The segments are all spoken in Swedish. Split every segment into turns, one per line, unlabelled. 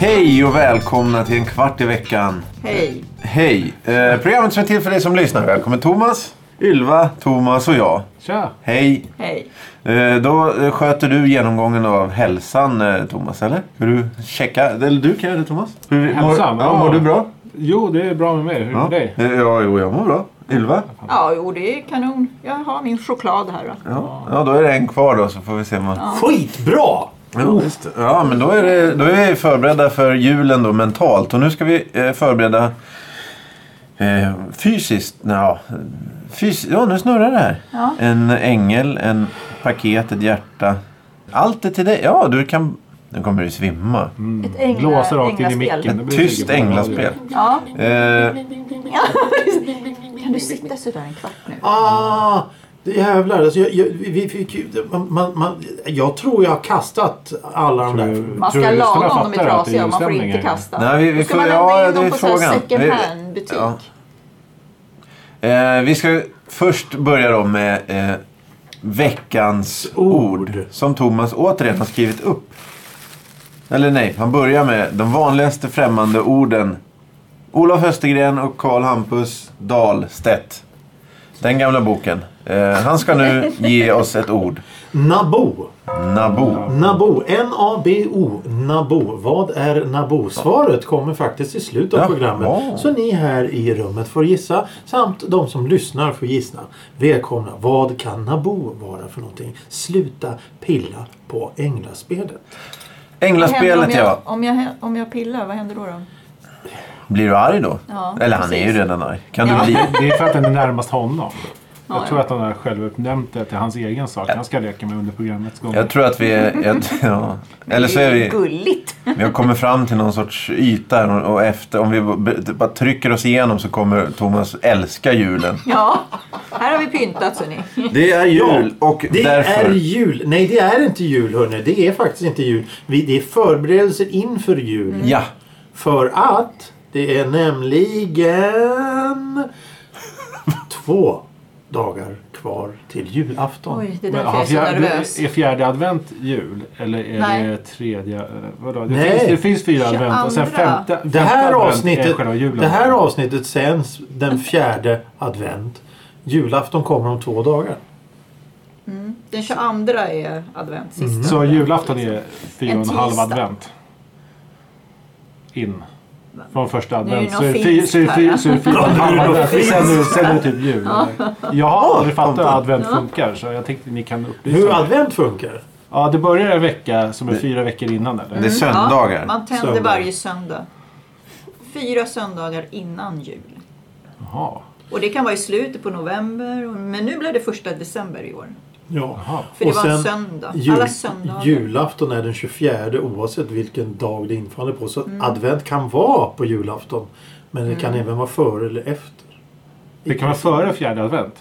Hej och välkomna till en kvart i veckan.
Hej.
Hej! Eh, programmet som är till för dig som lyssnar. Välkommen Thomas, Ylva, Thomas och jag.
Tja!
Hej!
Hej.
Eh, då eh, sköter du genomgången av hälsan eh, Thomas, eller? Hur du checka? Eller du kan göra det Thomas. Hur,
Hälsan?
Mår, ja, mår du bra?
Jo, det är bra med mig. Hur är det
Ja,
med dig?
Eh, ja jo, jag mår bra. Ylva?
Ja, jo det är kanon. Jag har min choklad här. Då.
Ja. ja, då är det en kvar då så får vi se om man...
Skitbra!
Ja, just det. ja men då är, det, då är vi förberedda för julen då mentalt. Och nu ska vi eh, förbereda eh, fysiskt. Ja, fys ja, nu snurrar det här.
Ja.
En ängel, en paket, ett hjärta. Allt är till dig. Ja, du kan... Nu kommer du svimma.
Mm,
Ett ängla,
Blåsa rakt in i
änglaspel.
micken.
Ett tyst änglaspel.
Ja.
Eh,
Kan du sitta sådär en kvart nu?
Ah, det jävlar. Alltså, jag, jag, vi fick, ju- man, man, man, jag tror jag har kastat alla de där.
Man ska laga om de är trasiga och man får inte kasta.
Nej, vi- vi
Då ska
får-
man
ja,
lämna in
det är
dem på sån här
frågan.
second
Vi-
hand-butik.
ja. eh, vi ska först börja då med eh, veckans ord.
Ord.
Som Thomas återigen har skrivit upp. Eller nej, han börjar med de vanligaste främmande orden. Olof Östergren och Karl Hampus Dahlstedt. Den gamla boken. Eh, han ska nu ge oss ett ord.
Nabo.
Nabo.
Nabo. N-A-B-O. Nabo. Vad är Nabo? Svaret kommer faktiskt i slutet
Ja.
av programmet.
Ja.
Så ni här i rummet får gissa. Samt de som lyssnar får gissa. Välkomna. Vad kan Nabo vara för någonting? Sluta pilla på
Vad
änglaspelet.
händer om
Änglaspelet
jag,
ja.
Om, jag, om jag pillar, vad händer då? då?
Blir du arg då?
Ja,
Eller han är ju
precis.
redan arg. Kan
Ja.
du bli?
Det är för att den är närmast honom.
Ja,
Jag tror
ja.
att han har själv uppnämnt det till hans egen sak. Han ska leka med under programmets gång.
Jag tror att vi är... Jag, ja. Eller så är
det
vi...
ju gulligt.
Vi har kommit fram till någon sorts yta här och efter, om vi b- bara trycker oss igenom så kommer Thomas älska julen.
Ja, här har vi pyntat så ni.
Det är jul och
Det
därför...
är jul. Nej, det är inte jul hörni. Det är faktiskt inte jul. Vi- Det är förberedelser inför jul.
Ja,
För att det är nämligen två dagar kvar till julafton.
Oj, det är
Men alltså,
därför jag är så
fjärde-
nervös.
är fjärde advent jul? Eller är
Nej.
det tredje? eh, Vadå? Det,
Nej.
finns, det finns fyra
Tjugoandra.
advent och sen femte, femte
Det här,
advent är
avsnittet,
själva julen.
det här avsnittet sänds den fjärde advent. Julafton kommer om två dagar.
Den 22 är advent, sista.
Så julafton är fyra och en
En
halv
tisdag.
advent. In. Från första
Nu är det
advent.
någon
Så är det fy-
finsk
så är det fy-
här.
så är det fyra och en halv advent. Sen är- Sen är det typ jul. Jag har aldrig fattat hur advent funkar så jag tänkte ni kan
Hur
upplysa mig.
advent funkar?
Ja, det börjar en vecka som är fyra veckor innan eller?
det är söndagar.
Ja, man tänder
Söndag.
varje söndag. Fyra söndagar innan jul.
Jaha.
Och det kan vara i slutet på november. och- Men nu blev det första december i år.
Ja.
Jaha.
För det var en söndag. Alla söndagar.
Julafton är den 24 oavsett vilken dag det infaller på. Så
Mm.
advent kan vara på julafton. Men det kan även vara före eller efter.
Det kan vara före fjärde advent.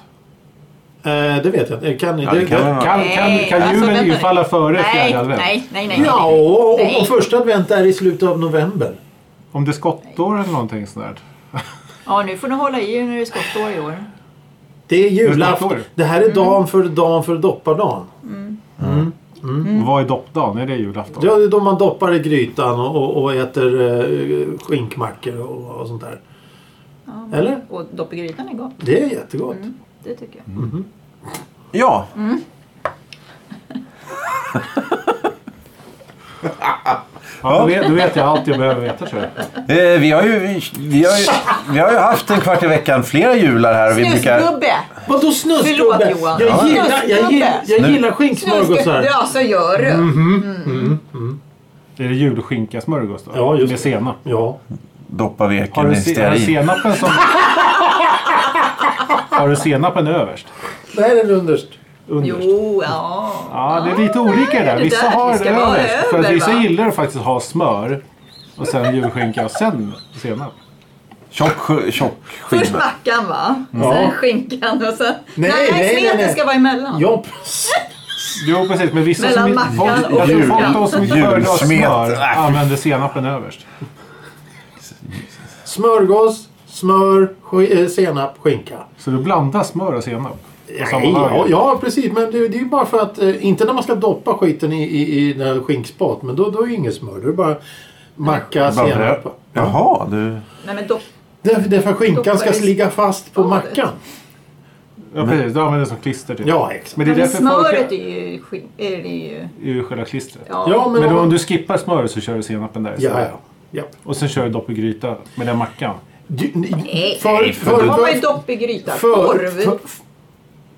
Eh, det vet jag inte. Eh, Kan,
Ja, det kan man-
Kan, kan,
Nej,
kan
alltså,
julen
vänta nu.
infalla före
Nej,
fjärde
nej,
advent?
nej, nej, nej.
Ja, och, och,
Nej.
och första advent är i slutet av november.
Om det är skottår eller någonting sånt där.
Ja, nu får ni hålla i er när det är skottår i år.
Det är
Det
julafton.
är snart
Det här
Mm.
är dagen för dagen för doppardagen.
Mm.
Vad är doppdagen? Är det julafton?
Det är då man doppar i grytan och, och, och äter eh, skinkmackor och, och sånt där. Eller?
Och dopp i grytan är gott.
Det är jättegott.
Det tycker jag.
Ja.
Ja, då, vet, då vet jag allt jag behöver veta tror jag.
Eh, vi, har ju, vi, har ju, vi har ju haft en kvart i veckan flera jular här. och Vi brukar,
Snusgubbe!
Vadå snusgubbe?
Förlåt, Johan.
Jag
Ja.
gillar, jag gillar, jag
Snu-
gillar skinksmörgåsar.
Snusgubbe! Ja, så gör du.
Mm,
Är det julskinkasmörgås då?
Ja,
Med
just det.
senap?
Ja.
doppa
Har
veken
du,
i
se, har du
stearin.
senapen som... har du senapen överst?
Nej, den är underst.
Underst?
Jo, ja.
Ja, det är lite olika det där.
det
Vissa
där
har
ska vara
överst. För att
över,
vissa
va?
gillar faktiskt att ha smör och sen julskinka och sen senap.
Tjock, sk- tjock
Först
skiva.
mackan va?
Mm. Ja.
Sen skinkan och sen...
Nej, nej, nej,
smeten
nej.
ska vara emellan.
Ja, precis.
Jo, precis. Men vissa
Mellan
som inte...
mackan
folk-
och
Jag tror folk de som inte
jul-
föredrar
julsmet.
smör
Äh.
använder senapen överst.
Smörgås, smör, sk- eh, senap, skinka.
Så du blandar smör och senap? på samma
Nej,
höger.
ja, ja, precis. Men det, det är ju bara för att... Eh, inte när man ska doppa skiten i, i, i den här skinkspat. Men då, då är det inget smör. Då är det bara Macka,
Bara bröd.
senap.
Jaha, du...
Nej men dopp.
Det är det är för att skinkan ska
Doppar i-
ligga fast på
Ja, det-
mackan.
Ja, precis. Du använder det som klister typ.
Ja, exakt.
Men det är
Men
därför
smöret är
folk
ju... skin- Är det ju
är ju själva klistret.
ja.
Ja, men,
Men då, om
om
du skippar smöret så kör du senapen där
Ja,
istället.
ja. ja.
Och sen kör du dopp i gryta med den mackan.
Du, ni-
Nej,
för,
Då
för,
har man ju
för,
dopp i gryta.
för,
Korv.
för,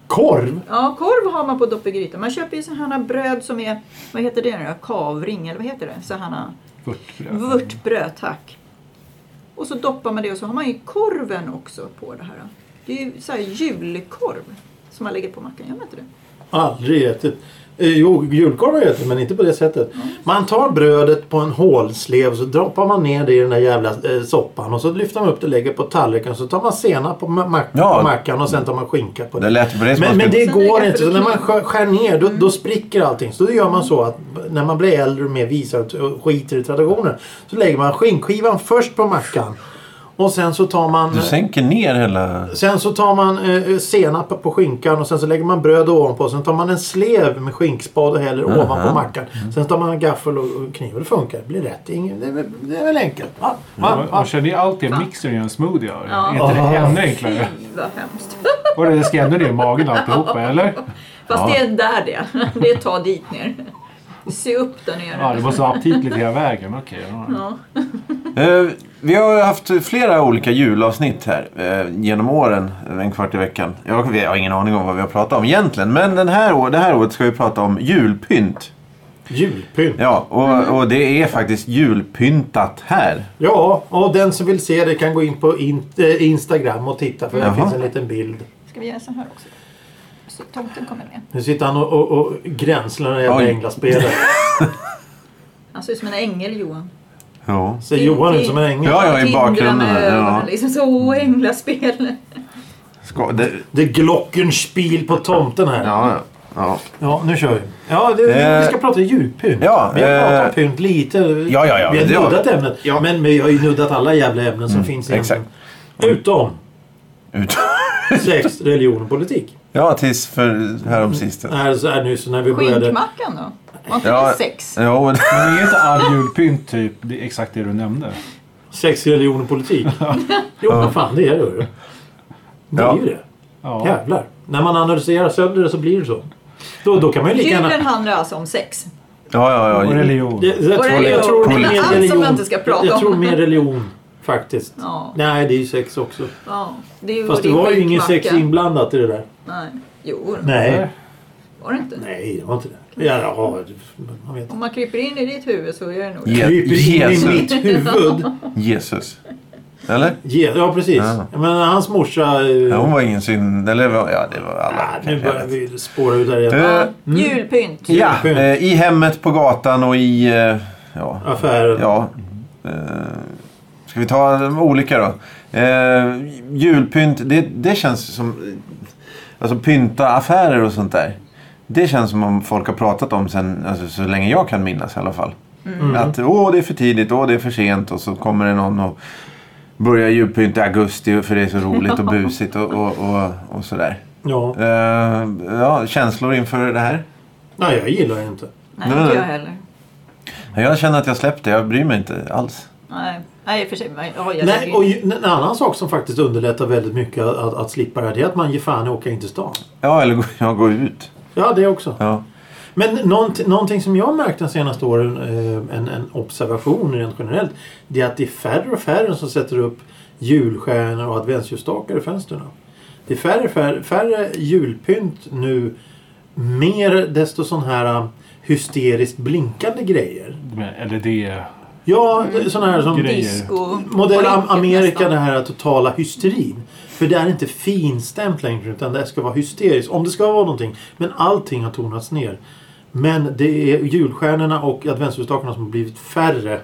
Korv?
Ja, korv har man på dopp i gryta. Man köper ju sådana här bröd som är, vad heter det nu då? Kavring eller vad heter det? Sådana
Vörtbröd.
vörtbröd, tack. Och så doppar man det och så har man ju korven också på det här. då. Det är ju så här julkorv som man lägger på mackan, gör man inte det?
Aldrig ätit. Eh, Jo, julkorv har jag ätit, men inte på det sättet. Man tar brödet på en hålslev så droppar man ner det i den där jävla eh, soppan och så lyfter man upp det och lägger på tallriken så tar man senap på, ma- ma-
Ja.
på mackan och sen tar man skinka på det.
Det lät på dig som
Men,
att man
men det
skulle...
Sen är det
går
kanske
inte. Så
det
när man
kan-
skär, skär ner då, då spricker allting. Så då gör man så att när man blir äldre och mer visar och skiter i traditionen så lägger man skinkskivan först på mackan. Och sen så tar man...
Du sänker ner hela...
Sen så tar man eh, senap på skinkan och sen så lägger man bröd ovanpå. Sen tar man en slev med skinkspad och häller ovanpå mackan. Sen tar man en gaffel och och kniv och det funkar. Det blir rätt. Det är ingen- det är väl- det är väl enkelt. Va?
Mm.
Va?
Man,
Va?
man kör ner allt i en mixer och gör en smoothie av det.
Ja.
Är inte det ännu enklare?
Fy vad hemskt.
Och det ska ännu ner i magen alltihopa, eller?
Fast det är där det. Det är ta dit ner. Se upp där nere.
Ja, det måste vara aptitligt hela vägen. Okej. ja.
Eh, vi har ju haft flera olika julavsnitt här eh, genom åren. eh, En kvart i veckan. Jag, jag har ingen aning om vad vi har pratat om egentligen. Men den här, å- det här året ska vi prata om julpynt.
Julpynt. Ja.
Ja, och, och det är faktiskt julpyntat här.
och den som vill se det kan gå in på in, eh, Instagram och titta för där
Jaha.
finns en liten bild.
Ska vi göra så här också? Så tomten kommer med.
Nu sitter han och, och, och gränslar när det gäller
Oj.
änglaspelet.
Han ser ut som en ängel Johan.
Ja.
Ser Johan ut som en ängel?
Ja, ja, i
Tindrar med
bakgrunden här,
ögonen
ja.
Liksom så, åh änglaspel.
Ska, det,
Det är Glockenspiel på tomten här.
ja, ja, ja.
Ja, nu kör vi. Ja, det,
Eh,
vi ska prata djurpynt.
ja,
vi har pratat
eh,
om pynt lite.
ja, ja,
vi har
det har Mm,
nuddat ämnet. Men vi har ju nuddat alla jävla ämnen som finns egentligen. Utom
Ut.
sex, religion och politik.
ja, tills för härom sistens.
Här så är nu så när vi började...
Skinkmackan då? Var inte
Ja. Eh,
det sex?
Jo, men...
Men är inte all julpynt typ det är exakt det du nämnde?
Sex, religion och politik. jo, vad fan det är det. hörru. Det är
Ja.
ju det.
Ja.
Jävlar. När man analyserar sönder det så blir det så. Då, då kan man ju lika gärna...
Julen handlar alltså om sex.
Ja, ja,
Och
ja.
religion.
Jag, jag, tror,
religion.
jag tror
Politik.
mer
Allt som
religion.
jag inte ska prata
jag
om.
tror mer religion faktiskt.
Ja.
Nej, det är ju sex också.
Ja, det är ju
Fast det
din
var ju ingen sex
skinkmacka.
inblandat i det där.
Nej. Jo,
Nej.
var det inte?
Nej, det var inte det. Ja, ja, man vet.
Om man kryper in i ditt huvud så är det nog
Je-
Kryper in i
Jesus.
mitt huvud.
Jesus. Eller?
Ge- Ja, precis.
Ja.
Men hans morsa... eh,
Ja, hon var ingen synd. Eller var- ja, det var alla.
ah, nu börjar vi spåra ut här igen.
Eh,
Ja, Julpynt.
ja, eh, i hemmet, på gatan och i... eh, Ja.
Affären.
ja eh, ska vi ta de olika då? Eh, julpynt, det, det känns som... eh, Alltså pynta affärer och sånt där. Det känns som om folk har pratat om sen, alltså, så länge jag kan minnas i alla fall. Att åh, det är för tidigt, åh, det är för sent och så kommer det någon och börjar julpynta i augusti för det är så roligt och busigt och, och, och, och sådär.
Ja.
Eh, ja, känslor inför det här?
Nej, jag gillar det inte.
Nej,
Nej,
inte jag
nej.
heller.
Jag känner att jag släppte, jag bryr mig inte alls.
Nej, nej i och för sig. men- Ja, jag
Nej,
lägger-
och ju- en annan sak som faktiskt underlättar väldigt mycket att, att slippa det här, det är att man ger fan i att åka in till stan.
Ja, eller gå, ja, gå ut.
Ja, det också.
Ja.
Men nånt, någonting som jag har märkt de senaste åren, eh, en, en observation rent generellt, det är att det är färre och färre som sätter upp julstjärnor och adventsljusstakar i fönstren. Det är färre och färre, färre julpynt nu, mer desto sån här eh, hysteriskt blinkande grejer.
Eller det.
Ja, sån här som...
Grejer.
Disco.
Modell Am-
blinket
Amerika,
nästan.
den här totala hysterin. För det är inte finstämt längre utan det ska vara hysteriskt. Om det ska vara någonting. Men allting har tonats ner. Men det är julstjärnorna och adventsljusstakarna som har blivit färre.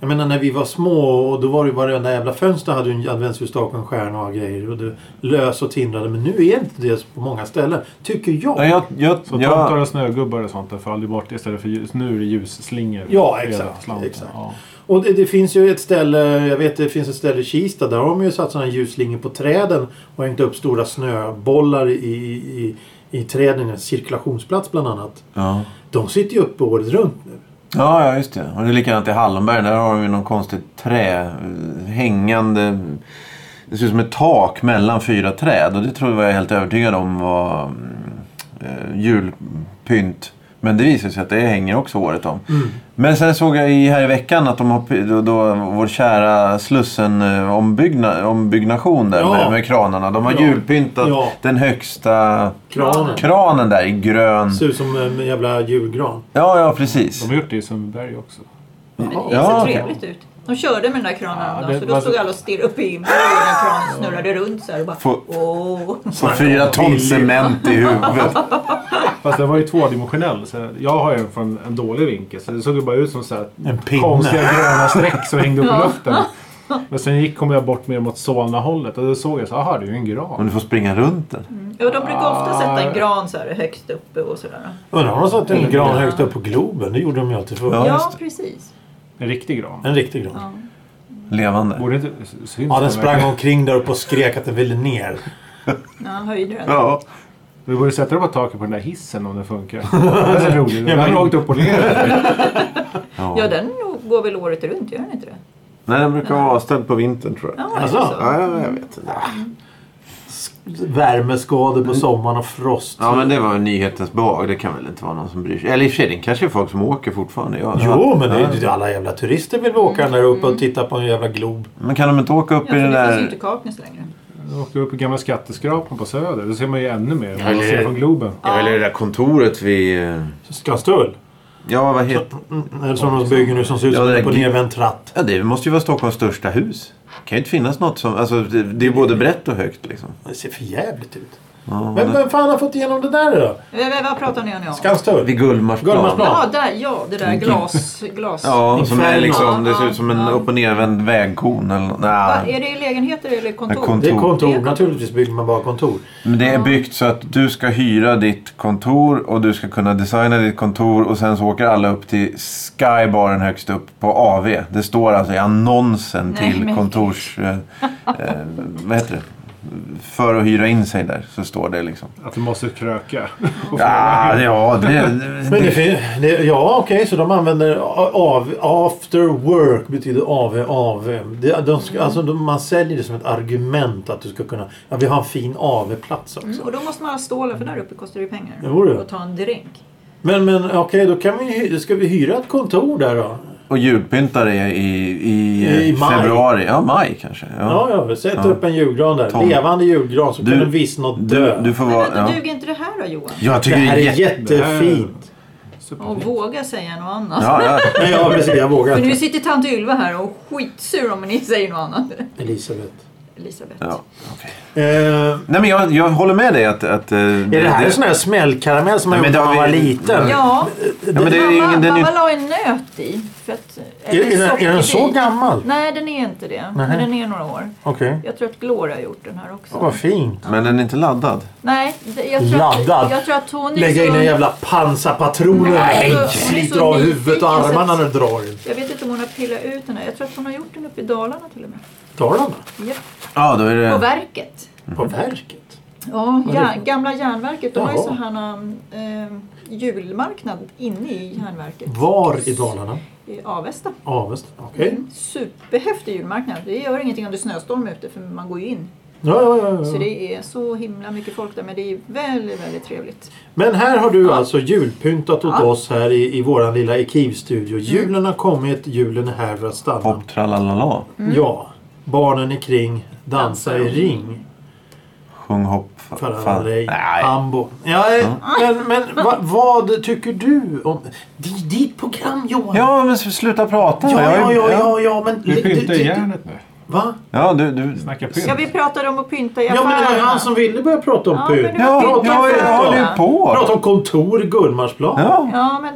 Jag menar när vi var små och då var det ju varenda jävla fönster hade ju en adventsljusstake och en stjärna och grejer. Och det lös och tindrade. Men nu är inte det på många ställen. Tycker
Ja,
jag.
jag, jag,
Så tomtar
jag,
och snögubbar och sånt där för aldrig bort istället för ljus. Nu är det ljusslingor.
Ja,
Hela
exakt,
slanten,
exakt.
Ja.
Och det, det finns ju ett ställe, jag vet det finns ett ställe i Kista, där har de ju satt sådana ljusslingor på träden och hängt upp stora snöbollar i, i, i, i träden, en cirkulationsplats bland annat.
ja.
De sitter ju uppe året runt nu.
Ja, ja, just det. Och det är likadant i Hallonberg. Där har de ju någon konstigt trä eh, hängande. Det ser ut som ett tak mellan fyra träd. Och det tror jag var jag helt övertygad om var mm, eh, julpynt. Men det visar sig att det hänger också året om.
Mm.
Men sen såg jag i, här i veckan att de har py- då, då, vår kära Slussen eh, ombyggna, ombyggnation där
Ja.
med, med kranarna. De har
Ja.
julpyntat
Ja.
den högsta
Kranen.
kranen där i grön.
Ser ut som en jävla julgran.
Ja, ja precis.
De har gjort det i Sundbyberg också.
Men det ser
Ja.
trevligt ut. De körde med den där kranen
Ja,
häromdagen,
det
så då
var-
stod alla och stirrade upp i himlen och den kranen snurrade runt så här och bara
Få-
åh.
Så fyra ton cement i huvudet.
Fast den var ju tvådimensionell. Så jag har ju en från en dålig vinkel. Så det såg ju bara ut som så här
En pinne.
konstiga gröna streck som hängde upp i luften. Men sen gick, kom jag bort mer mot Solna-hållet och då såg jag så aha det är ju en
Om
gran.
Mm.
du får springa runt den.
Ja, de brukar ofta
Ah.
sätta en gran så här högst uppe och sådär.
Undrar om de satt en gran högst upp på Globen? Det gjorde de ju alltid förr.
Ja,
Ja,
just det.
precis.
En riktig gran.
En riktig gran.
Ja.
Levande.
Borde inte syns
Ja, den sprang
verkligen.
omkring där uppe och skrek att den ville ner.
Ja, han höjde den.
Ja.
Vi borde sätta den på taket på den där hissen om den funkar. Det är så roligt. Den har åkt upp och ner.
Ja, den nog- går väl året runt, gör den inte det?
Nej, den brukar vara avställd på vintern tror jag.
Ja, är det
Alltså?
så?
Ja, ja, jag vet. Ja.
Värmeskador på sommaren och frost.
ja, men det var nyhetens behag. Det kan väl inte vara någon som bryr sig. Eller i och för sig, det kanske är folk som åker fortfarande. Ja.
Jo, men det är ju alla jävla turister vill åka där uppe och titta på en jävla glob.
Men kan de inte åka upp
Ja,
i
för
den
det finns ju
där...
inte Kaknäs längre.
Den åkte upp i gamla skatteskrapan på Söder. Då ser man ju ännu mer. än
Ja,
Man
det-
ser från Globen.
Ja, eller det där kontoret vid... eh,
Skanstull.
Ja, vad heter...
Eller som de bygger nu som ser ut
Ja,
som
det
en
är
på
gl-
nervänd tratt.
Ja, det måste ju vara Stockholms största hus. Det kan ju inte finnas något som... Alltså, det, det är både brett och högt liksom.
Det ser för jävligt ut.
Ja,
Men
men...
vem fan har fått igenom det där då?
Eh, Vad pratar ni om?
Skanstull?
Vid Gullmarsplan.
Gullmarsplan.
Ja, där, ja, det där glas... glas.
Mm. Ja, som är
Inferno.
liksom... Det ser ut som en
Ja.
upp och nervänd vägkon eller nå-
Va,
Nej.
är det lägenheter eller kontor?
Ja, kontor.
Det är
Det är
kontor.
kontor.
Naturligtvis bygger man bara kontor.
Men det är byggt så att du ska hyra ditt kontor och du ska kunna designa ditt kontor och sen så åker alla upp till Skybaren högst upp på AV. Det står alltså i annonsen
Nej,
till
men-
kontors... Eh, eh, vad heter det? För att hyra in sig där så står det liksom.
Att du måste kröka.
Ja, det- ja det, det,
Men det, fin- det, ja, okej, så de använder a- av, after work betyder av, av. Det, de ska, alltså, de, man säljer det som ett argument att du ska kunna... Ja, vi har en fin AV-plats också.
Mm, och då måste man ha stålar för där uppe kostar det ju pengar.
Det borde det.
Och ta en drink.
Men, men okej, då kan vi, hy- ska vi hyra ett kontor där då?
Och julpyntare i, i, i, eh,
I maj.
februari. Ja, maj kanske. Ja.
Ja, ja, sätt
Ja.
upp en julgran där.
Tom.
Levande julgran så
Du-
kan den vissna och
Du,
dö.
du får
Men
vara...
vänta,
Ja.
duger inte det här då Johan?
Jag
det
tycker
här är
jätte-
jättefint.
Och våga säga något annat.
Mm. Ja, ja.
Nej, ja, precis. Jag vågar
För nu
inte.
sitter tant Ylva här och är skitsur om ni säger något annat.
Elisabeth.
Elisabeth.
Ja.
Eh,
Nej, men jag, jag håller med dig att... att eh,
är det här en sån här smällkaramell som man
Nej, men
gjorde när
det har
man var
vi-
liten?
Ja,
Ja, men det är ju
mamma,
ingen, den är
mamma
ju-
la en nöt i. För att,
Är, är, den, är den så
sockerbit.
gammal?
Nej, den är inte det.
Nähä.
Men den är några år.
Okej.
Jag tror att Gloria har gjort den här också.
Vad fint.
men den är inte laddad.
Nej, det- jag tror,
Laddad.
Att, jag tror att hon är liksom-
Lägga
så...
in en jävla pansarpatroner.
Nej, så-
Nej, sliter
hon är så
av huvudet och
nyfiken, så-
armarna när du drar den.
Jag vet inte om hon har pillat ut den här. Jag tror att hon har gjort den uppe i Dalarna till och med.
Dalarna?
Ja.
Ja, då är
På
det...
verket.
Mm. På verket?
Ja, järn, gamla järnverket. De har ju
Jaha.
sådana eh, julmarknad inne i järnverket.
Var i Dalarna?
I Avesta.
Avesta? Okej.
Mm. Superhäftig julmarknad. Det gör ingenting om det är snöstorm ute för man går ju in.
Ja, ja, ja,
Så
ja.
det är så himla mycket folk där men det är väldigt, väldigt trevligt.
Men här har du alltså julpyntat åt
Ja. Mm.
oss här i, i våran lilla ekivstudio. Julen har kommit, julen är här för att stanna.
Hopp tralalala.
Mm.
Ja. Barnen är kring, dansa i ring.
Sjung hopp. fa-
För alla
fan.
dig,
Nej.
ambo. Ja, eh, men, men va, vad tycker du om... Det är ditt program Johan!
Ja, men s- sluta prata.
Ja,
Jag
ja,
är-
ja, ja, ja, men...
Du pyntar
du- du-
järnet nu.
Va?
Ja, du... du...
Snacka pynt.
Ja, vi pratade om att pynta i
Ja, men det var ju han som ville börja prata om
Ja,
pynt.
men det
Ja,
var-
Prata
jag,
om-
jag håller ju på.
Prata om kontor i Gullmarsplan.
Ja,
Ja, men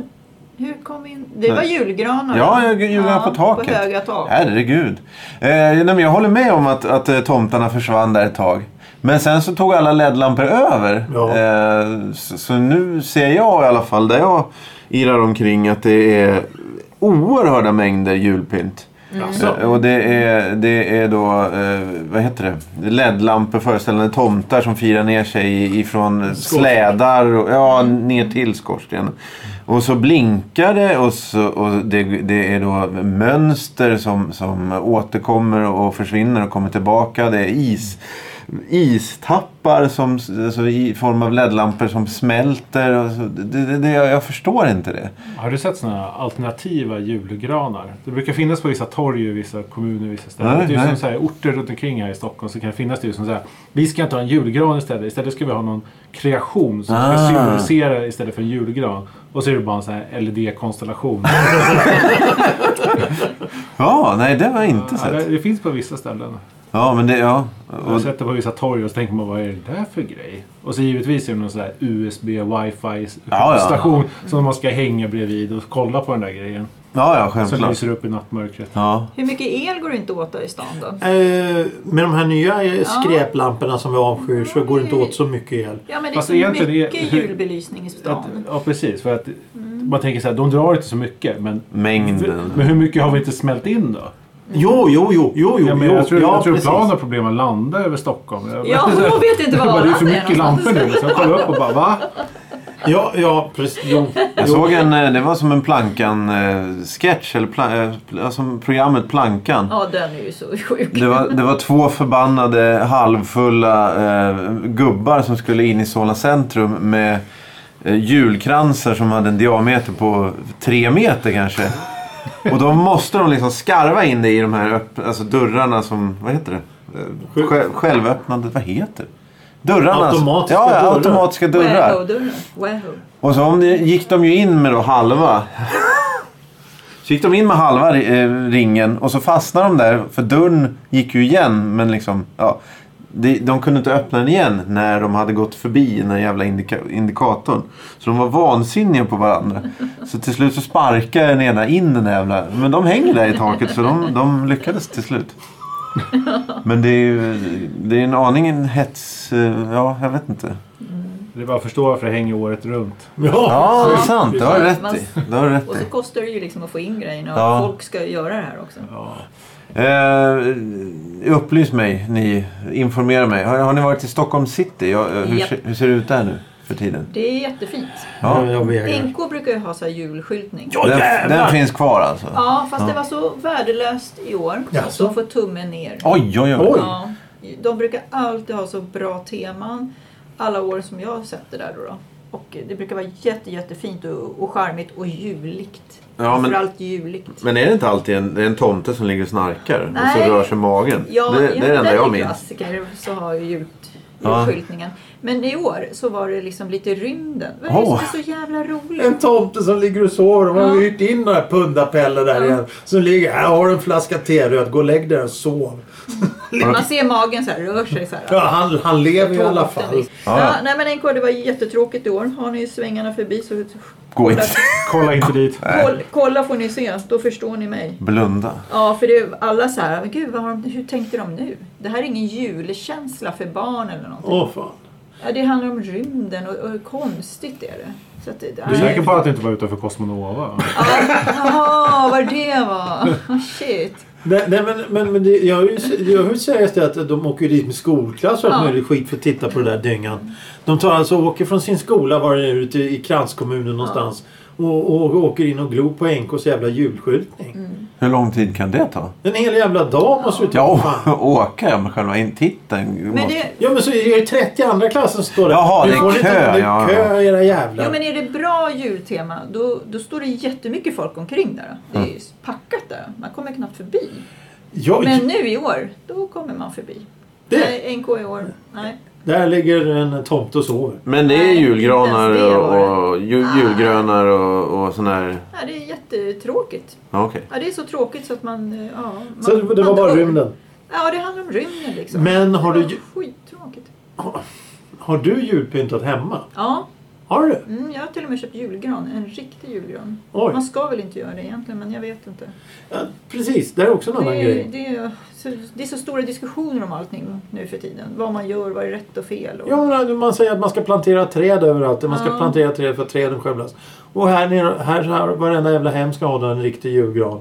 hur kom vi in? Det var
Nej.
julgranar.
ja jag ljuger på taket.
På höga tak.
Herregud. Eh, nej, men jag håller med om att, att eh, tomtarna försvann där ett tag. Men sen så tog alla LED-lampor över.
Ja.
Eh, så, så nu ser jag i alla fall där jag irrar omkring att det är oerhörda mängder julpynt.
Alltså,
Eh, Och det är, det är då, eh, vad heter det, Det är LED-lampor föreställande tomtar som firar ner sig ifrån
Skorsten.
slädar och ja, ner till skorstenen. Och så blinkar det och, så, och det, det är då mönster som, som återkommer och försvinner och kommer tillbaka. Det är is, istappar som, alltså i form av LED-lampor som smälter. Och så, det, det, det, jag förstår inte det.
Har du sett sådana alternativa julgranar? Det brukar finnas på vissa torg i vissa kommuner vissa ställen.
Nej,
det är ju
nej.
som så här, orter runt omkring här i Stockholm så kan det finnas det ju som så här. Vi ska inte ha en julgran istället. Istället ska vi ha någon kreation som
Ah.
ska symbolisera istället för en julgran. Och så är det bara en sån här LED-konstellation.
Ja, nej det har jag inte
Ja,
sett.
det, det finns på vissa ställen.
Ja, men det, ja.
Jag har
Och,
sett det på vissa torg och så tänker man vad är det där för grej? Och så givetvis är det någon sån här USB wifi
Ja, ja.
station som man ska hänga bredvid och kolla på den där grejen.
ja, ja,
Som
självklart.
lyser upp i nattmörkret.
Ja.
Hur mycket el går det inte åt där i stan då?
Eh, med de här nya eh, skräplamporna som vi avskyr så går det inte åt så mycket el.
Ja men det är
Fast
så
egentligen är-
mycket
hur-
julbelysning i
Att,
stan.
ja precis, för att man tänker så här, de drar inte så mycket men,
Mängden.
men hur mycket har vi inte smält in då?
Mm.
Jo, jo, jo, jo, jo.
jag, men,
jo
jag tror,
ja,
jag tror
precis.
plan har problem att landa över Stockholm. Jag,
Ja, och jag vet inte var
jag bara, det är för
alla är
mycket
någonstans.
lampor nu. Så jag kollar upp och bara va?
Ja, ja, precis. Jo,
Jag
jo.
såg en, eh, det var som en Plankan-sketch, eller pla, eh, pl- som programmet Plankan.
Ja den är ju så sjuk.
Det var, det var två förbannade halvfulla eh, gubbar som skulle in i Solna centrum med eh, julkransar som hade en diameter på tre meter kanske. Och då måste de liksom skarva in det i de här öpp, alltså dörrarna som, vad heter det? Eh, sj- Självöppnandet, vad heter det? Dörrarna. som-
Automatiska
ja, ja,
dörrar.
automatiska dörrar.
Wahoo-dörrar. Wahoo.
Och så om det, gick de ju in med då halva. Så gick de in med halva eh, ringen och så fastnade de där. För dörren gick ju igen men liksom... Ja, de, de kunde inte öppna den igen när de hade gått förbi den här jävla indika, indikatorn. Så de var vansinniga på varandra. Så till slut så sparkade den ena in den där jävla... Men de hänger där i taket så de, de lyckades till slut. Men det är ju det är en aning en hets... eh, Ja, jag vet inte.
Det är bara att förstå varför det hänger året runt.
Ja.
Ja, det är sant. Det har du rätt
Man-
i. Det har du rätt
Och
i.
så kostar det ju liksom att få in grejerna och
Ja.
folk ska ju göra det här också.
Ja.
Eh, upplys mig, ni. Informera mig. Har, har ni varit i Stockholm city? Ja, eh, hur,
Japp.
ser- hur ser det ut där nu för tiden?
Det är jättefint.
Ja.
Jag vägrar.
NK brukar ju ha så här julskyltning.
Åh,
den,
jävlar!
den finns kvar alltså?
Ja, fast det var så värdelöst i år.
Jaså?
Så då får tummen ner.
Oj, oj, oj.
Oj.
Ja, de brukar alltid ha så bra teman alla år som jag har sett det där. Då då. Och det brukar vara jätte, jättefint och, och charmigt och juligt.
Ja, men-
Framförallt juligt.
Men är det inte alltid en, det är en tomte som ligger och snarkar och
Nej.
så rör sig magen?
Ja, alltså.
det, det är det enda jag minns.
klassiker så har ju jul,
Ja.
julskyltningen. Men i år så var det liksom lite rymden. Det var
Åh.
så jävla roligt.
En tomte som ligger och sover. De har ju hyrt in några pundapeller där igen. Som ligger. Här har du en flaska teröd. Gå och lägg dig där och sov.
Man ser magen så här, rör sig så här.
Ja, han, han lever i alla
Tomten,
fall.
liksom. Ja. nej men NK, det var jättetråkigt i år. Har ni svängarna förbi så
Gå inte.
Kolla inte dit.
kolla, kolla får ni se. Då förstår ni mig.
Blunda.
Ja, för det, alla så här, men gud, vad har de, hur tänkte de nu? Det här är ingen julkänsla för barn eller någonting.
Åh fan.
Ja, det handlar om rymden och, och hur konstigt är det. Så att det,
Du är säker på att det inte var utanför Cosmonova?
Jaha, vad det var. Oh, shit.
Nej, nej men, men, men det, jag, har ju- jag vill säga just det att de åker ju dit med skolklass och allt
Ja.
möjligt skit för att titta på den där dyngan. De tar alltså och åker från sin skola var det är, ute i kranskommunen någonstans. Och, och, åker in och glor på NKs jävla julskyltning.
Hur lång tid kan det ta?
En hel jävla dag måste du ta.
Ja,
fan.
åka ja, men själva in titten.
Men,
måste-
det,
Ja men så är det 30 andra klassen som står där.
Jaha,
Nu
det är
får ni ta-
kö,
Det
ja,
är kö era jävlar.
ja, men är det bra jultema, då, då står det jättemycket folk omkring där. Det
Mm.
är ju packat där. Man kommer knappt förbi.
Ja,
Men nu i år, då kommer man förbi.
Det-
Nej, NK i år. Nej.
Där ligger en tomte och sover.
Men det är
Nej,
julgranar
inte ens det var det.
och, och ju, julgrönar och, och sån här...
Nej, det är jättetråkigt.
Ja, okej.
Ja, det är så tråkigt så att man... eh, Ja, man
Så det var
man
bara
dör.
rymden.
Ja, det handlar om rymden liksom.
Men har
Det
du
var
ju-
Skittråkigt.
Har du julpyntat hemma?
Ja,
Har du?
mm, jag har till och med köpt julgran. En riktig julgran.
Oj.
Man ska väl inte göra det egentligen, men jag vet inte.
Ja, precis, det är också en annan
Det är,
grej.
det, är, så, det är så stora diskussioner om allting nu för tiden. Vad man gör, vad är rätt och fel. Och...
Ja, men eh, man säger att man ska plantera träd överallt. Man ska
Ja.
plantera träd för att träden skövlas. Och här nere, här, här varenda jävla hem ska ha en riktig julgran.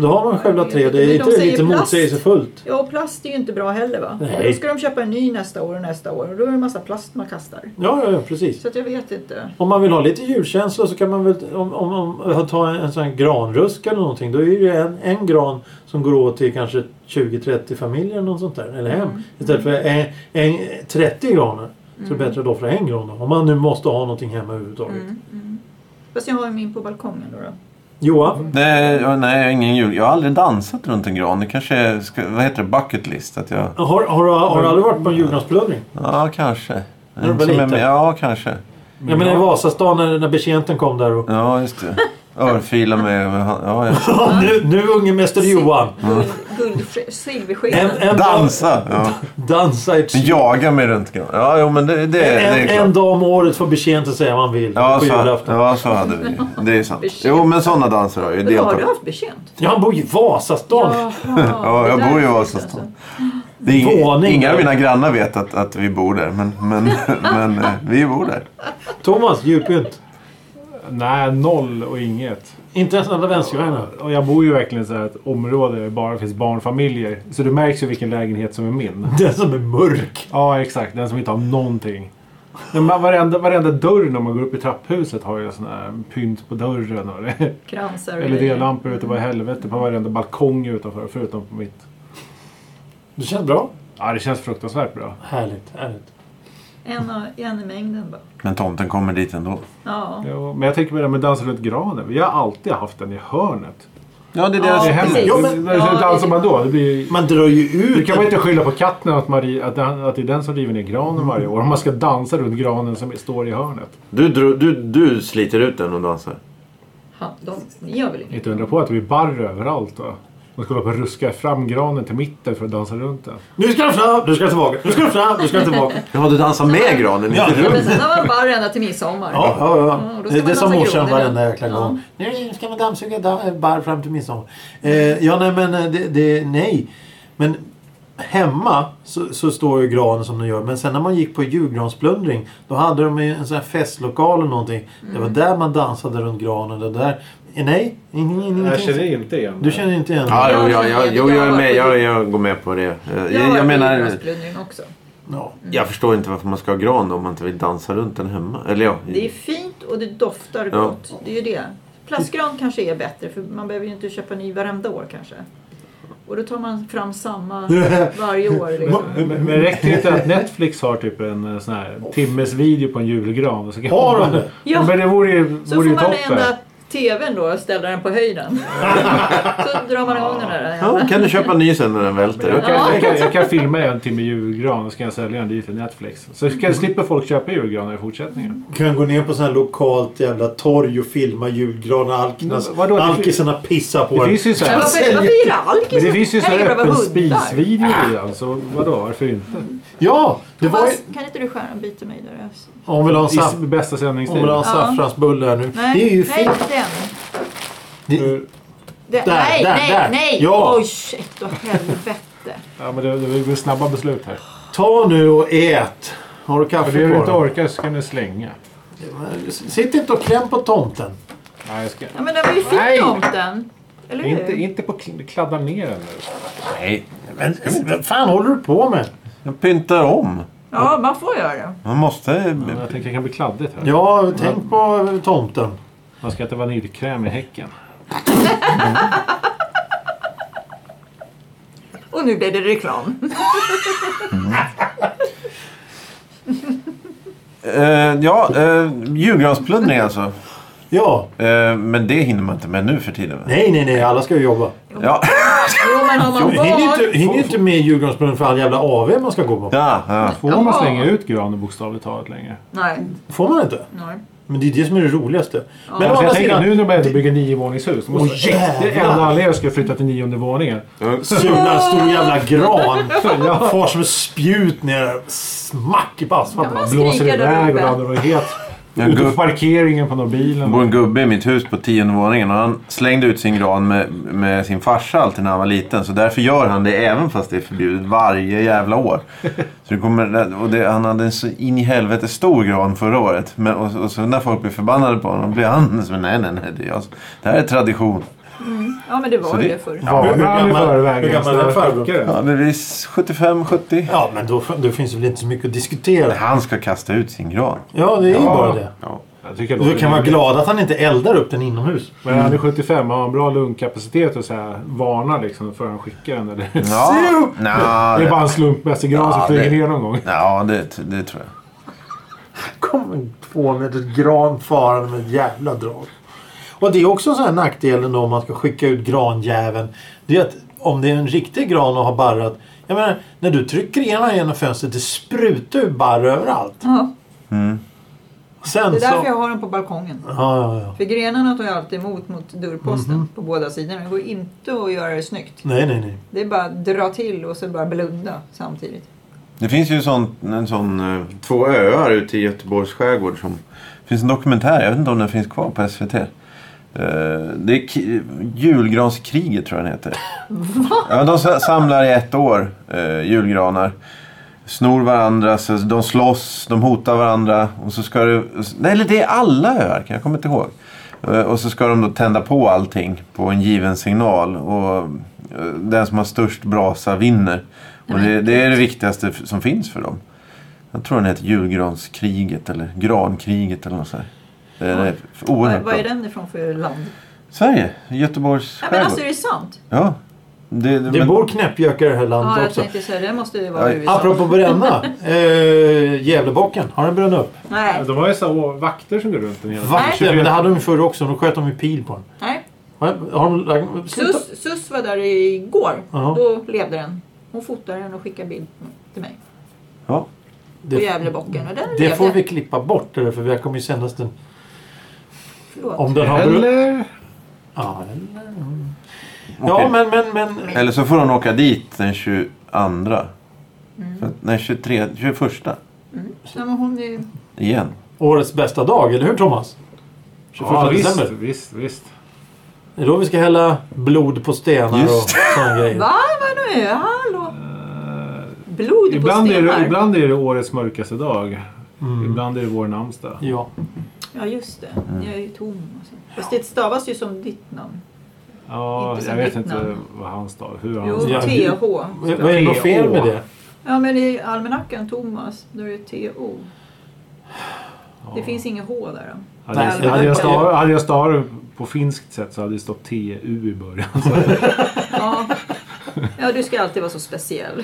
Då har man själva tre. Det
Mm. Men
är
de
inte det
säger
lite
plast.
motsägelsefullt?
Ja, och plast är ju inte bra heller va?
Nej.
Då ska de köpa en ny nästa år och nästa år och då är det en massa plast man kastar.
Ja, ja, ja, precis.
Så att jag vet inte.
Om man vill ha lite julkänsla så kan man väl om, om, om, ta en, en sån här granrusk eller någonting. Då är det ju en, en gran som går åt till kanske 20-30 familjer eller något sånt där. Eller hem. Istället för en, en, 30 granar. Så är det bättre att offra en gran då. Om man nu måste ha någonting hemma överhuvudtaget.
Fast jag har ju min på balkongen då. då.
Johan?
Nej, jag- nej, jag har ingen jul. Jag har aldrig dansat runt en gran. Det kanske är, ska, vad heter det, bucket list? Att jag,
Har, har, du- har du aldrig varit
Mm.
på en julgransplundring?
ja, kanske.
du var
Inte som jag-
liten.
ja, kanske. Mm.
Ja men i Vasastan när, när betjänten kom där och...
Ja, just det. Örfila med... med hand- Ja, ja.
"Ah, nu, nu unge mäster Johan!
Guld, guld, silversked.
En, en
Dansa! Ja.
Dag, dansa i ett...
Jaga med runt gran. Ja, jo, men det, det, det är
En,
klart.
en dag om året får betjänten säga vad han vill.
Ja
på
så,
julafton.
ja, så hade vi. Det är sant. Jo, men sådana danser har jag ju
Vadå, har
deltagit
du haft betjänt?
Ja, han bor ju i Vasastan.
Ja, jag
det där
bor ju i
är alltså
Vasastan. Det är ing-
Våning.
inga av mina grannar vet att, att vi bor där, men, men, men eh, vi bor där.
Thomas, julpynt.
Nej, noll och inget.
Inte ens en adventsstjärna.
Och jag bor ju verkligen i så här ett område där det bara finns barnfamiljer. Så det märks ju vilken lägenhet som är min.
Den som är mörk.
Ja, exakt. Den som inte har någonting. Men man- varenda, varenda dörr när man går upp i trapphuset har ju sån här pynt på dörren. Och det,
Kransar och
eller
grejer.
D-lampor ute på helvete på varenda balkong utanför. Förutom på mitt.
Det känns bra.
Ja, det känns fruktansvärt bra.
Härligt, härligt.
En, av- en i mängden bara.
Men tomten kommer dit ändå.
Ja.
Jo, men jag tänker på det här med dansa runt granen. Vi har alltid haft den i hörnet.
Ja, det är det
Ja,
jag
Det
säger.
är
precis.
hemmet.
Ja, men-
Hur
Ja, det-
dansar man då? Det blir ju
Man drar ju
Du
ut...
kan väl inte skylla på katten att, man, ri- att, den- att det är den som river ner granen varje år. Om man ska dansa runt granen som står i hörnet.
Du, dro- du, du sliter ut den och dansar.
Ha, de gör väl inget.
Inte undra på att det blir barr överallt då. Man ska hålla på och ruska fram granen till mitten för att dansa runt den.
Nu ska den fram, du ska tillbaka. Nu ska den fram, du ska tillbaka.
Ja, du dansar med granen, inte
Ja,
runt.
men sen har man bara ända till midsommar.
Ja, ja,
och
ja.
då ska
Det,
man
det är som
dansa
morsan
kronor.
varenda jäkla
Ja.
gång. Nu ska man dammsuga da- barr fram till midsommar. Eh, ja, nej men eh, det, det, nej. Men hemma så, så står ju granen som den gör. Men sen när man gick på julgransplundring då hade de ju en sån här festlokal eller någonting. Det var där man dansade runt granen. Det där. Eh, nej, ingen, ingen, ingenting.
inte igen
Du känner inte igen
Ja,
det?
jo, jag, jag, jo, jag, är med, jag, jag går med på det. Eh, Jag, jag menar,
julgransplundring också.
Ja.
jag förstår inte varför man ska ha gran om man inte vill dansa runt den hemma. Eller ja,
Det är fint och det doftar
Ja.
gott. Det är ju det. Plastgran kanske är bättre för man behöver ju inte köpa ny varenda år kanske. Och då tar man fram samma varje år. Liksom.
Men men räcker det inte att Netflix har typ en eh, sån här timmes video på en julgran? Och så kan
Har
man-
de det?
Ja.
Men det vore ju,
Så
vore
får
ju
man
toppen.
vända tvn då och ställa den på höjden. Så drar man igång den där.
ja, kan du köpa en ny sen när den välter?
Jag kan, jag, kan, jag kan filma en timme julgran och så kan jag sälja den dit till Netflix. Så
Mm.
kan, slipper folk köpa julgranar i fortsättningen.
Kan gå ner på sån här lokalt jävla torg och filma julgranar. Alknas,
Men vadå, det-
alkisarna pissar på
Det
den.
finns ju så
Men
här,
varför, varför är det alkis?
men det finns ju så här
Kan det
öppen
bara vara hundar?
spisvideo i den. Så vadå, varför inte?
Ja! Det var ju...
Fast, Kan inte du skära en bit till mig där? Alltså?
Hon vill ha en
I
saft.
s- bästa
Hon
sändningstid.
vill ha en saffransbulle här nu.
Nej,
Det är ju
nej,
fint.
den.
Det-
Den-
Där,
nej,
där,
nej,
där.
nej!
Ja.
Oj, shit och helvete.
Ja, men det, det blir snabba beslut här.
Ta nu och ät. Har du
För
kaffe
det du inte
kvar?
orkar så kan du slänga.
Sitt inte och kläm på tomten.
Nej, jag ska...
Ja, men den var ju
Nej.
fin tomten. Eller hur?
Inte, inte på kl- kladda ner den nu.
Nej,
Men vad fan håller du på med?
jag pyntar om.
Ja, man får göra det.
Man måste...
Jag tänker det kan bli kladdigt här.
Ja, tänk på tomten.
Man ska äta vaniljkräm i häcken.
Och nu blev det reklam.
Eh, ja, uh, julgransplundring alltså.
Ja.
Eh, men det hinner man inte med nu för tiden. va?
Nej, nej, nej. Alla ska ju jobba.
Ja,
Jo, men har man
Hinner
barn...
inte, hinner inte med julgransbrunnen för all jävla AV man ska gå på.
ja, ja.
Får man slänga ut granen bokstavligt talat längre?
Nej,
Får man inte?
nej.
Men det är det som är det roligaste. Men å
Alltså
andra
jag tänker
sidan...
nu när man ändå bygger niovåningshus. då måste-
Åh,
Det är
jävlar.
enda anledningen jag ska flytta till nionde våningen.
Sula en stor jävla gran. Far som ett spjut ner. Smack i asfalten.
Ja, men-
Blåser
skriker där
iväg och
uppe.
laddar och är het.
Jag
Ute på
gupp-
parkeringen på någon
Det
bilen.
bor en gubbe i mitt hus på tionde våningen och han slängde ut sin gran med, med sin farsa alltid när han var liten. Så därför gör han det även fast det är förbjudet varje jävla år. Så det kommer, och det, han hade en så in i helvete stor gran förra året. Men, och, och så när folk blir förbannade på honom blir han så nej nej nej. Det, är jag, som- det här är tradition.
Ja, men det var
Så
ju
det-
det förr.
Ja, hur
Varnar i
gammal-
förväg.
hur gammal är
alltså.
farbrorn?
Skicka det.
Ja, det blir 75-70.
Ja, men då, då finns det väl inte så mycket att diskutera.
Han ska kasta ut sin gran.
Ja, det är ju
Ja.
bara det.
Ja.
Jag tycker jag
Du
låter
kan vara
rimligt.
glad att han inte eldar upp den inomhus.
Men han är 75 har han bra lungkapacitet och så här, varna liksom för han skickar den? Eller?
Ja,
det är bara
Nja,
en slumpmässig gran
Ja,
som flyger
det-
ner någon gång.
ja det, det tror jag.
kom en två meters gran farande med ett jävla drag. Och det är också så här nackdelen då om man ska skicka ut granjäveln. Det är att om det är en riktig gran och har barrat. Jag menar, när du trycker in den genom fönstret det sprutar ju barr överallt.
Ja,
Sen
det är därför
så...
jag har den på balkongen.
Ja, ja, ja.
För grenarna tar jag alltid emot mot dörrposten
Mhm.
på båda sidorna. Det går inte att göra det snyggt.
Nej, nej, nej.
Det är bara att dra till och så bara blunda samtidigt.
Det finns ju sån, en sån, eh, två öar ute i Göteborgs skärgård. Som, det finns en dokumentär, jag vet inte om den finns kvar på SVT. Eh, Det är ki- julgranskriget tror jag den heter. Ja, men de sa- samlar i ett år eh, julgranar. Snor varandra, så de slåss, de hotar varandra. Och så ska det, nej, eller det är alla öar, kan jag kommer inte ihåg. Eh, Och så ska de då tända på allting på en given signal. Och eh, den som har störst brasa vinner. Och det, det är det viktigaste f- som finns för dem. Jag tror den heter julgranskriget eller grankriget eller något sånt. där. Det är
Vad
oerhört
vad är
bra.
den ifrån för land?
Sverige, Göteborgs
Ja, men alltså
skärgård.
är det sant?
Ja. Det,
Det
men-
bor knäppjökar i det här
Ja,
landet
jag
också.
tänkte säga det måste ju
Ja,
vara USA.
Apropå bränna. Eh, Gävlebocken, har den brunnit upp?
Nej,
De har ju så här vakter som går runt den hela
Vackert, men det hade de ju förr också. De sköt dem med pil på den.
nej.
Har- Har de... lagt- Sluta-
Sus, Sus var där igår.
Ja.
Då levde den. Hon fotade den och skickade bild till mig.
ja.
På
Det,
Gävlebocken. Och den
det
levde.
får vi klippa bort, eller? för vi kommer ju sändas den
Förlåt.
Om den har brunnit...
Eller?
Ja, eller- ja
Okej.
men, men, men...
Eller så får hon åka dit den 22.
Mm.
För att- nej, 23, 21.
Nej, men hon är...
Eh.
Igen.
Årets bästa dag, eller hur Thomas? 21
Ja, visst,
december.
visst, visst.
Det är då vi ska hälla blod på stenar
Just
och sådana grejer.
Va? Vad nu? är- Hallå? Blod
Eh, Ibland
på
är,
stenar?
det, ibland är det årets mörkaste dag. Ibland är det vår namnsdag.
Mm. Ja.
Ja, just det.
Mm.
Jag är ju tom. Och så. Fast det stavas ju som ditt namn.
Ja,
Inte som
jag vet
ditt
inte
namn.
vad han står. Hur han
Jo,
står.
Ja,
TH.
Vad vad är det något fel med det?
Ja, men i almanackan Thomas, då är det TO. Det finns inget H där. Då.
Hade jag-
Nej,
hade jag
det-
stav- Hade jag stavat på finskt sätt så hade det stått TU i början.
Ja. ja, du ska alltid vara så speciell.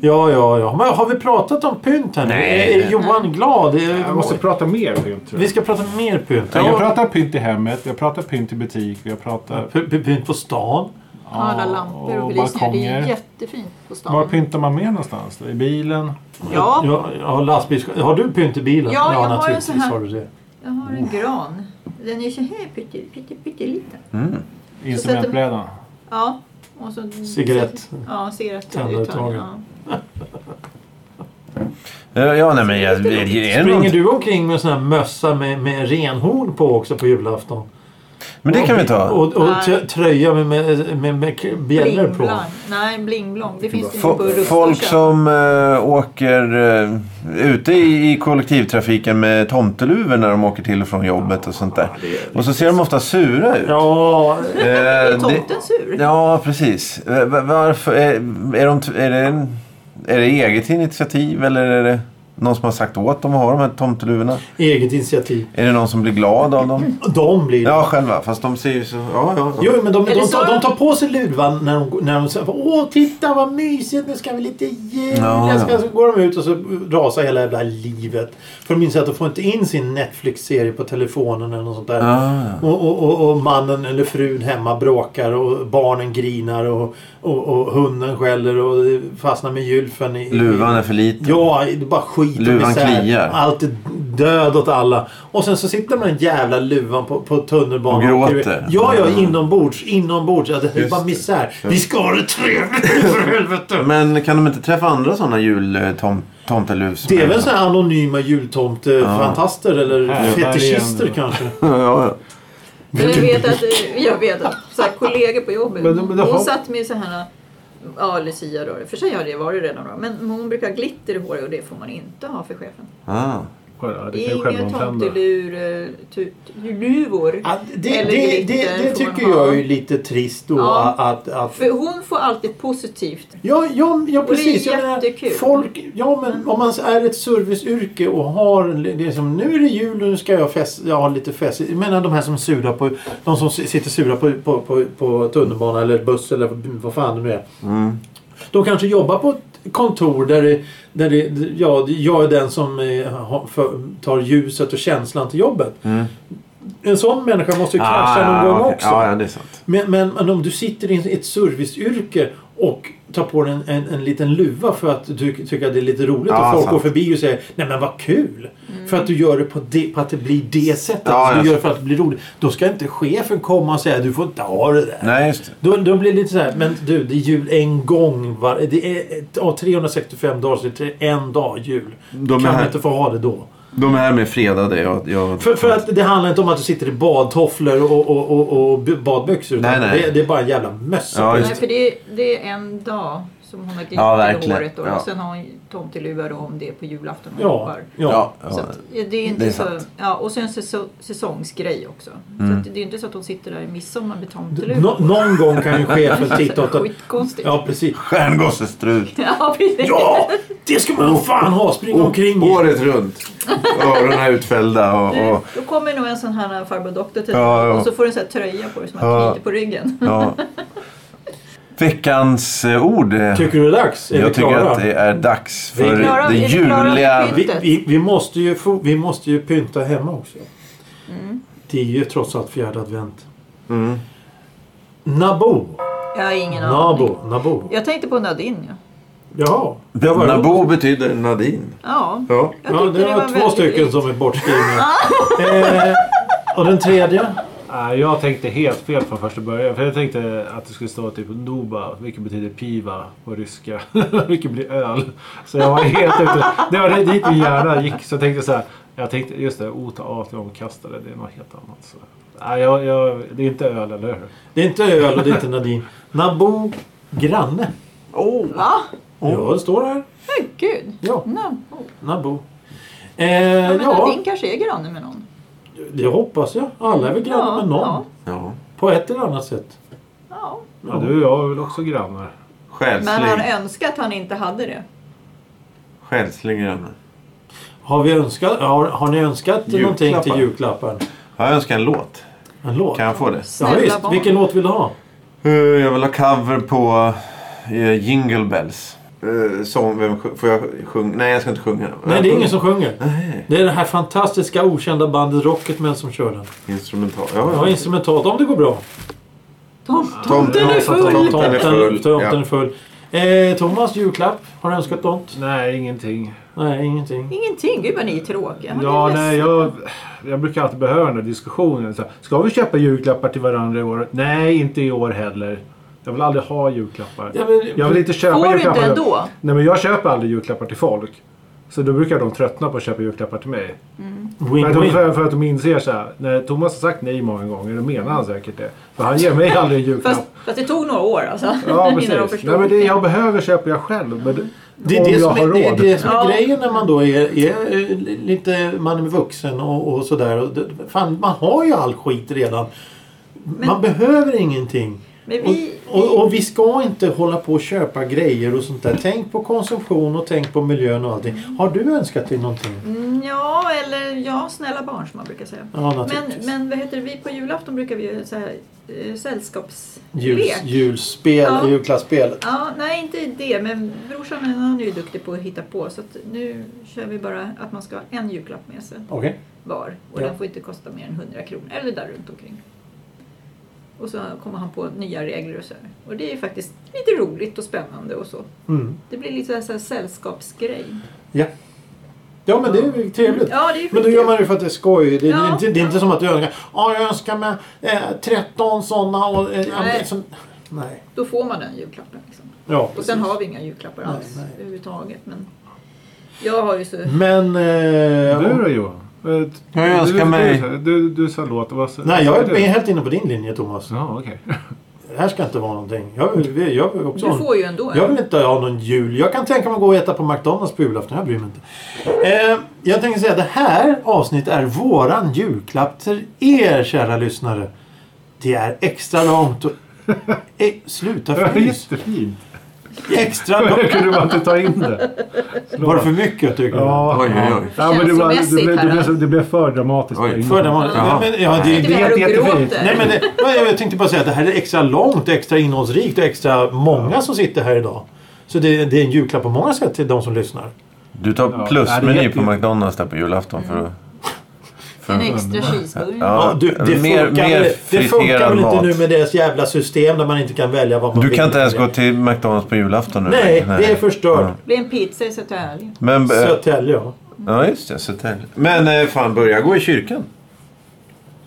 Ja, ja, ja. Men har vi pratat om pynt här nu?
Nej.
Är är Johan glad? Är-
Jag måste prata mer pynt tror
Vi
jag.
ska prata mer pynt.
Jag pratar pynt i hemmet, jag pratar pynt i butik, jag pratar...
P- p- Pynt på stan.
Alla
Ja,
lampor och
och
belysningar. Det är
balkonger.
jättefint på
Var
stan.
pyntar man mer någonstans? då? I bilen?
Ja,
Jag, jag har lastbils... Har du pynt i bilen?
Ja, jag har en sån här.
har du det.
jag har en gran. Den är så här pytte- pytte- pytteliten.
Instrumentbrädan?
Ja. Och så,
Cigarett.
Ja, cigarettuttag.
Tändaruttagen.
Ja.
Eh, Ja, nej men jag, är, är det
Springer
något?
du omkring med en sån här mössa med, med renhorn på också på julafton?
Men det kan vi ta.
Och, och
Nej.
tö- tröja med, med, med, med k- bjällror på.
Blingblang. Nej, blingblong. Det finns det ju på
Fo-
Rusta
Folk
köp.
som eh, åker uh, ute i, i kollektivtrafiken med tomteluvor när de åker till och från jobbet och sånt där. Och så ser de ofta sura ut.
Ja,
Eh,
Är
det-
tomten sur?
Ja, precis. Eh, va- Varför? Är, är, de, t- är, det en, är det eget initiativ eller är det någon som har sagt åt dem att ha de här tomteluvorna?
eget initiativ.
Är det någon som blir glad av dem?
De blir
Ja, själva. Fast de ser ju så... Ja, ja. ja.
Jo, men de, de,
Eller
de,
så
tar-
har
de
de-
tar på sig luvan när de, när de säger Åh, titta vad mysigt, nu ska vi lite jul.
Ja,
Jag ska,
ja.
så går de ut och så rasar hela jävla livet. För de inser att de får inte in sin Netflix-serie på telefonen eller något sånt där.
Ah.
Och, och, och, och mannen eller frun hemma bråkar och barnen grinar och, och, och hunden skäller och fastnar med gylfen i...
Luvan är för liten.
Ja, det är bara skit och
Luvan
misär.
kliar.
Allt är död åt alla. Och sen så sitter man den jävla luvan på, på tunnelbanan.
Och gråter. Mm.
Ja, ja, inombords. Inombords. Ja, det är
Just
bara
det.
misär. Vi ska ha det trevligt för helvete.
Men kan de inte träffa andra eh, sådana jultomteluvs?
Det är väl sådana här anonyma jultomtefantaster eller
Här, där
fetischister
igen.
kanske.
ja, ja.
Men Jag vet att, eh, jag vet att så här, kollegor på jobbet,
Men- men det har-
hon satt med så här Ja, Lucia då. I och För sig har det varit redan då. Men hon brukar ha glitter i håret och det får man inte ha för chefen.
Ah.
Själv, det kan ju
Inga
självomvända.
tomteluvor.
Ja, det,
Eller
det,
glitter
det, det
får man
tycker jag
ha.
är ju lite trist då.
Ja.
Att, att,
För hon får alltid positivt.
Ja, ja, ja
det är
precis. Jag menar,
jättekul. Mm.
folk, ja, men om man är ett serviceyrke och har en- det är som nu är det jul och nu ska jag, fest, jag ha lite fest. Jag menar de här som sura på de som s- sitter sura på, på, på, på tunnelbana eller buss eller vad fan det nu är.
Mm.
De kanske jobbar på ett kontor där, det, där det, ja, jag är den som eh, har- för, tar ljuset och känslan till jobbet.
Mm.
En sån människa måste ju krascha någon gång
Ah. okej.
också.
Ja, ja, det är sant.
Men, men, men om du sitter i ett serviceyrke och tar på dig en, en, en liten luva för att du tycker att det är lite roligt
Ja,
och folk
sant.
går förbi och säger Nej men vad kul! För att du gör det på, det, på att det blir det sättet.
Ja,
du
ja,
gör det
så-
för att det blir roligt. Då ska inte chefen komma och säga du får inte ha det där.
Nej, just det.
Då, då blir det lite så här, men du det är jul en gång. Var, det är ett- ja, 365 dagar så det är en dag jul.
De är
kan
här-
inte få ha det då.
De här med fredade. Jag, jag...
För, för att det handlar inte om att du sitter i badtofflor och, och, och, och b- badbyxor. utan
Nej, nej.
Det, det är bara en jävla mössa.
Ja, just
Nej, för det, det är en dag som hon har
Ja,
glitter i
verkligen.
håret. Och
Ja.
sen har hon tomteluva då om det är på julafton hon
ja,
jobbar.
ja.
ja,
Så
ja.
att, ja, det är inte
Det är
så,
sant. Mm.
ja, och så en säso- säsongsgrej också. Så att det är inte så att hon sitter där i midsommar med tomteluva.
Nå, någon gång kan ju chefen
Det är
titta åt att-
Skitkonstigt.
Ja, precis.
Stjärngossestrut.
Ja, precis.
Ja! Det ska man
Oh,
fan ha! Spring omkring i.
Året runt. Öronen utfällda och...
Du,
Mm.
och
då kommer nog en sån här farbror doktor till
Ja,
dig
ja.
och så får du en sån här tröja på dig som har
Ja.
knyter på ryggen.
ja. Veckans eh, ord. eh,
Tycker du det är dags? Är
jag
vi
tycker
klara?
att det är dags
Vi
för
är
klara.
det
Är vi klara med
juliga...
skit?
vi, vi, vi, måste ju få, vi måste ju pynta hemma också.
Mm.
Det är ju trots allt fjärde advent.
Mm.
Nabo.
Jag har ingen aning.
Nabo. Nabo.
Jag tänkte på Nadine. Ja,
Jaha. Det var-
Nabo betyder Nadine.
ja
Ja.
jag
Ja,
tyckte
det var två
väldigt
stycken
likt.
som är bortskrivna. eh, och den tredje?
Nej, jag tänkte helt fel från första början. För jag tänkte att det skulle stå typ Nuba, vilket betyder piva på ryska. vilket blir öl. Så jag var helt ute. Det var det- dit min hjärna gick. Så jag tänkte så här. Jag tänkte just det, OTA är omkastade. Det är något helt annat. Så. Nej, jag, jag, det är inte öl, eller hur?
Det är inte öl och det är inte Nadine. Nabo granne.
Va?
Ja, det står här.
Men gud.
Ja,
No. Ja,
Nabo. Eh,
Mm. men
ja,
Nadine kanske är granne med någon.
det hoppas jag. Alla är väl grannar
Ja,
med någon.
ja.
På ett eller annat sätt.
ja.
Ja, du och jag är väl också grannar?
Men han
Själslig.
önskar att han inte hade det.
Själslig granne.
Har, vi önskat, har, har ni önskat någonting till julklappar?
Ja, Jag önskar en låt.
En låt?
Kan jag få det?
Ja,
Snälla
visst.
barn.
Vilken låt vill du ha?
Eh, Jag vill ha cover på eh, Jingle Bells. Eh, Sång, vem sj- får jag sjunga? Nej, jag ska inte sjunga.
Nej, det är ingen som sjunger.
Nej,
Det är det här fantastiska okända bandet Rocketman som kör den.
instrumental. Ja,
Ja, instrumentalt om det går bra.
Tom,
Tomten
tomten
är
är
full.
full.
Tomten är full,
Tomten
ja.
är full. Eh, Thomas, julklapp. Har du önskat något?
Nej, ingenting.
Nej, ingenting.
Ingenting. Gud vad ni är tråkiga. Han är
Ja,
ledsen.
nej, jag, jag brukar alltid behöva den där diskussionen. Så här, ska vi köpa julklappar till varandra i år? Nej, inte i år heller. Jag vill aldrig ha julklappar.
Ja, men-
jag vill inte köpa
Får du
julklappar.
inte ändå?
Nej, men jag köper aldrig julklappar till folk. Så då brukar de tröttna på att köpa julklappar till mig. För att, de,
Win-win.
för, för att de inser så här, när Thomas har sagt nej många gånger, då menar han säkert det. För han ger mig aldrig en julklapp.
Fast, fast det tog några år alltså.
Ja,
innan de
precis.
förstod.
Nej, men det jag behöver köper jag själv. Men
Det är
om
det,
jag
som
har
är,
råd.
det är det som är
Ja.
grejen när man då är, är eh, lite, man är vuxen och, och sådär. Och det- Fan, man har ju all skit redan. man behöver ingenting.
Men vi-
och, och, och vi ska inte hålla på och köpa grejer och sånt där.
Mm.
Tänk på konsumtion och tänk på miljön och allting. Har du önskat dig någonting?
Mm, Ja, eller ja, snälla barn som man brukar säga.
Ja,
Men,
naturligtvis.
men vad heter det? vi på julafton brukar vi ju så här, eh, sällskapslek.
Juls, julspel,
Ja.
julklappsspelet.
Ja, nej inte det, men brorsan han är ju duktig på att hitta på så att nu kör vi bara att man ska ha en julklapp med sig
Okej.
var och
Ja.
den får inte kosta mer än 100 kronor eller där runt omkring. Och så kommer han på nya regler och så här. Och det är ju faktiskt lite roligt och spännande och så.
Mm.
Det blir lite så här, så här sällskapsgrej.
Ja. Ja men det är ju trevligt.
Ja, det är ju
men då gör man det för att det är skoj. Det, det,
Ja.
är inte, det är inte som att du önskar Ja, jag önskar mig eh, 13 sådana och... Eh,
Nej.
nej. Som, nej.
Då får man den julklappen liksom.
Ja,
Och
precis.
sen har vi inga julklappar
Nej,
alls
nej. Mm.
överhuvudtaget. Men jag har ju så...
Men... Eh,
Du
om,
då Johan? Eh,
Jag
du-
önskar
du,
mig-
Du, du, du sa låt. Vad sa-
nej,
sa
jag
du?
är helt inne på din linje Thomas.
Ja, okej.
det här ska inte vara någonting. Jag vill, jag vill också ha
Du
en-
får ju ändå
jag
en.
vill inte ha någon jul. Jag kan tänka mig att gå och äta på McDonalds på julafton. Jag bryr mig inte. Eh, jag tänker säga att det här avsnittet är våran julklapp till er kära lyssnare. Det är extra långt och... Eh, sluta
Det var
fnys!
jättefint.
Extra långt!
Jag kunde bara inte ta in det. Slå.
Var det för mycket tycker du?
Ja.
Oj, oj, oj.
Ja, men det, var, det, blev, det, blev, det blev för dramatiskt.
Oj,
Ingen-
För den var,
Jaha.
men, ja, det,
Sitter vi
det,
här och
jättefint.
gråter?
nej, men det, men jag tänkte bara säga att det här är extra långt, extra innehållsrikt och extra många som sitter här idag. Så det, det är en julklapp på många sätt till de som lyssnar.
Du tar
Ja,
plusmeny
det är
på
jätte-
McDonalds där på julafton
Mm.
för att... För
En
att
extra cheeseburgare.
Ja,
Ja, du, det,
mer,
funkar,
mer
väl- det funkar
friterad
väl inte
mat.
nu med deras jävla system där man inte kan välja vad man
Du
vill.
kan inte ens gå till McDonalds på julafton nu.
Nej, det är förstört.
Ja.
Det blir en pizza i Södertälje.
Men, eh,
Södertälje, ja.
ja, just det. Södertälje. Men eh, fan, börja gå i kyrkan.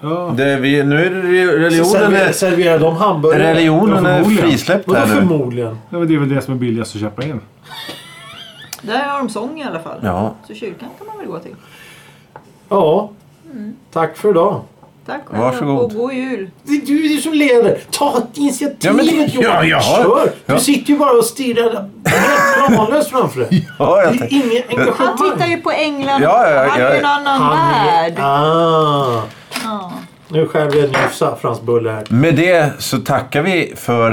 Ja.
Det, vi, nu är det re-
Så
religionen...
serverar,
Är,
serverar de hamburgare?
religionen är
Förmodligen.
frisläppt
Vadå
här nu.
förmodligen?
Ja, men Det är väl det som är billigast att köpa in.
Där har de sång i alla fall.
Ja.
Så kyrkan kan man väl gå till.
Ja. Tack för idag.
Tack själv
Varsågod.
och god jul.
Det är du som leder. Ta ett initiativ
Ja, men det-
Johan.
ja, jag har-
Kör!
ja.
Du sitter ju bara och stirrar helt planlöst framför dig.
Ja,
Det
jag
är
tänkte...
inget
Han tittar
engagemang.
ju på England.
Ja, ja, ja,
han är ju en
ja.
annan värld.
Ah,
Ja.
nu skär vi en ny saffransbulle här.
Med det så tackar vi för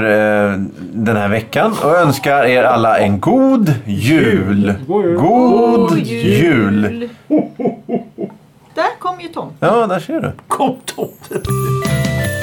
eh, den här veckan och önskar er alla en god jul.
God
God
jul.
jul.
Där kom ju Tom.
Ja, där ser du.
Kom tomten!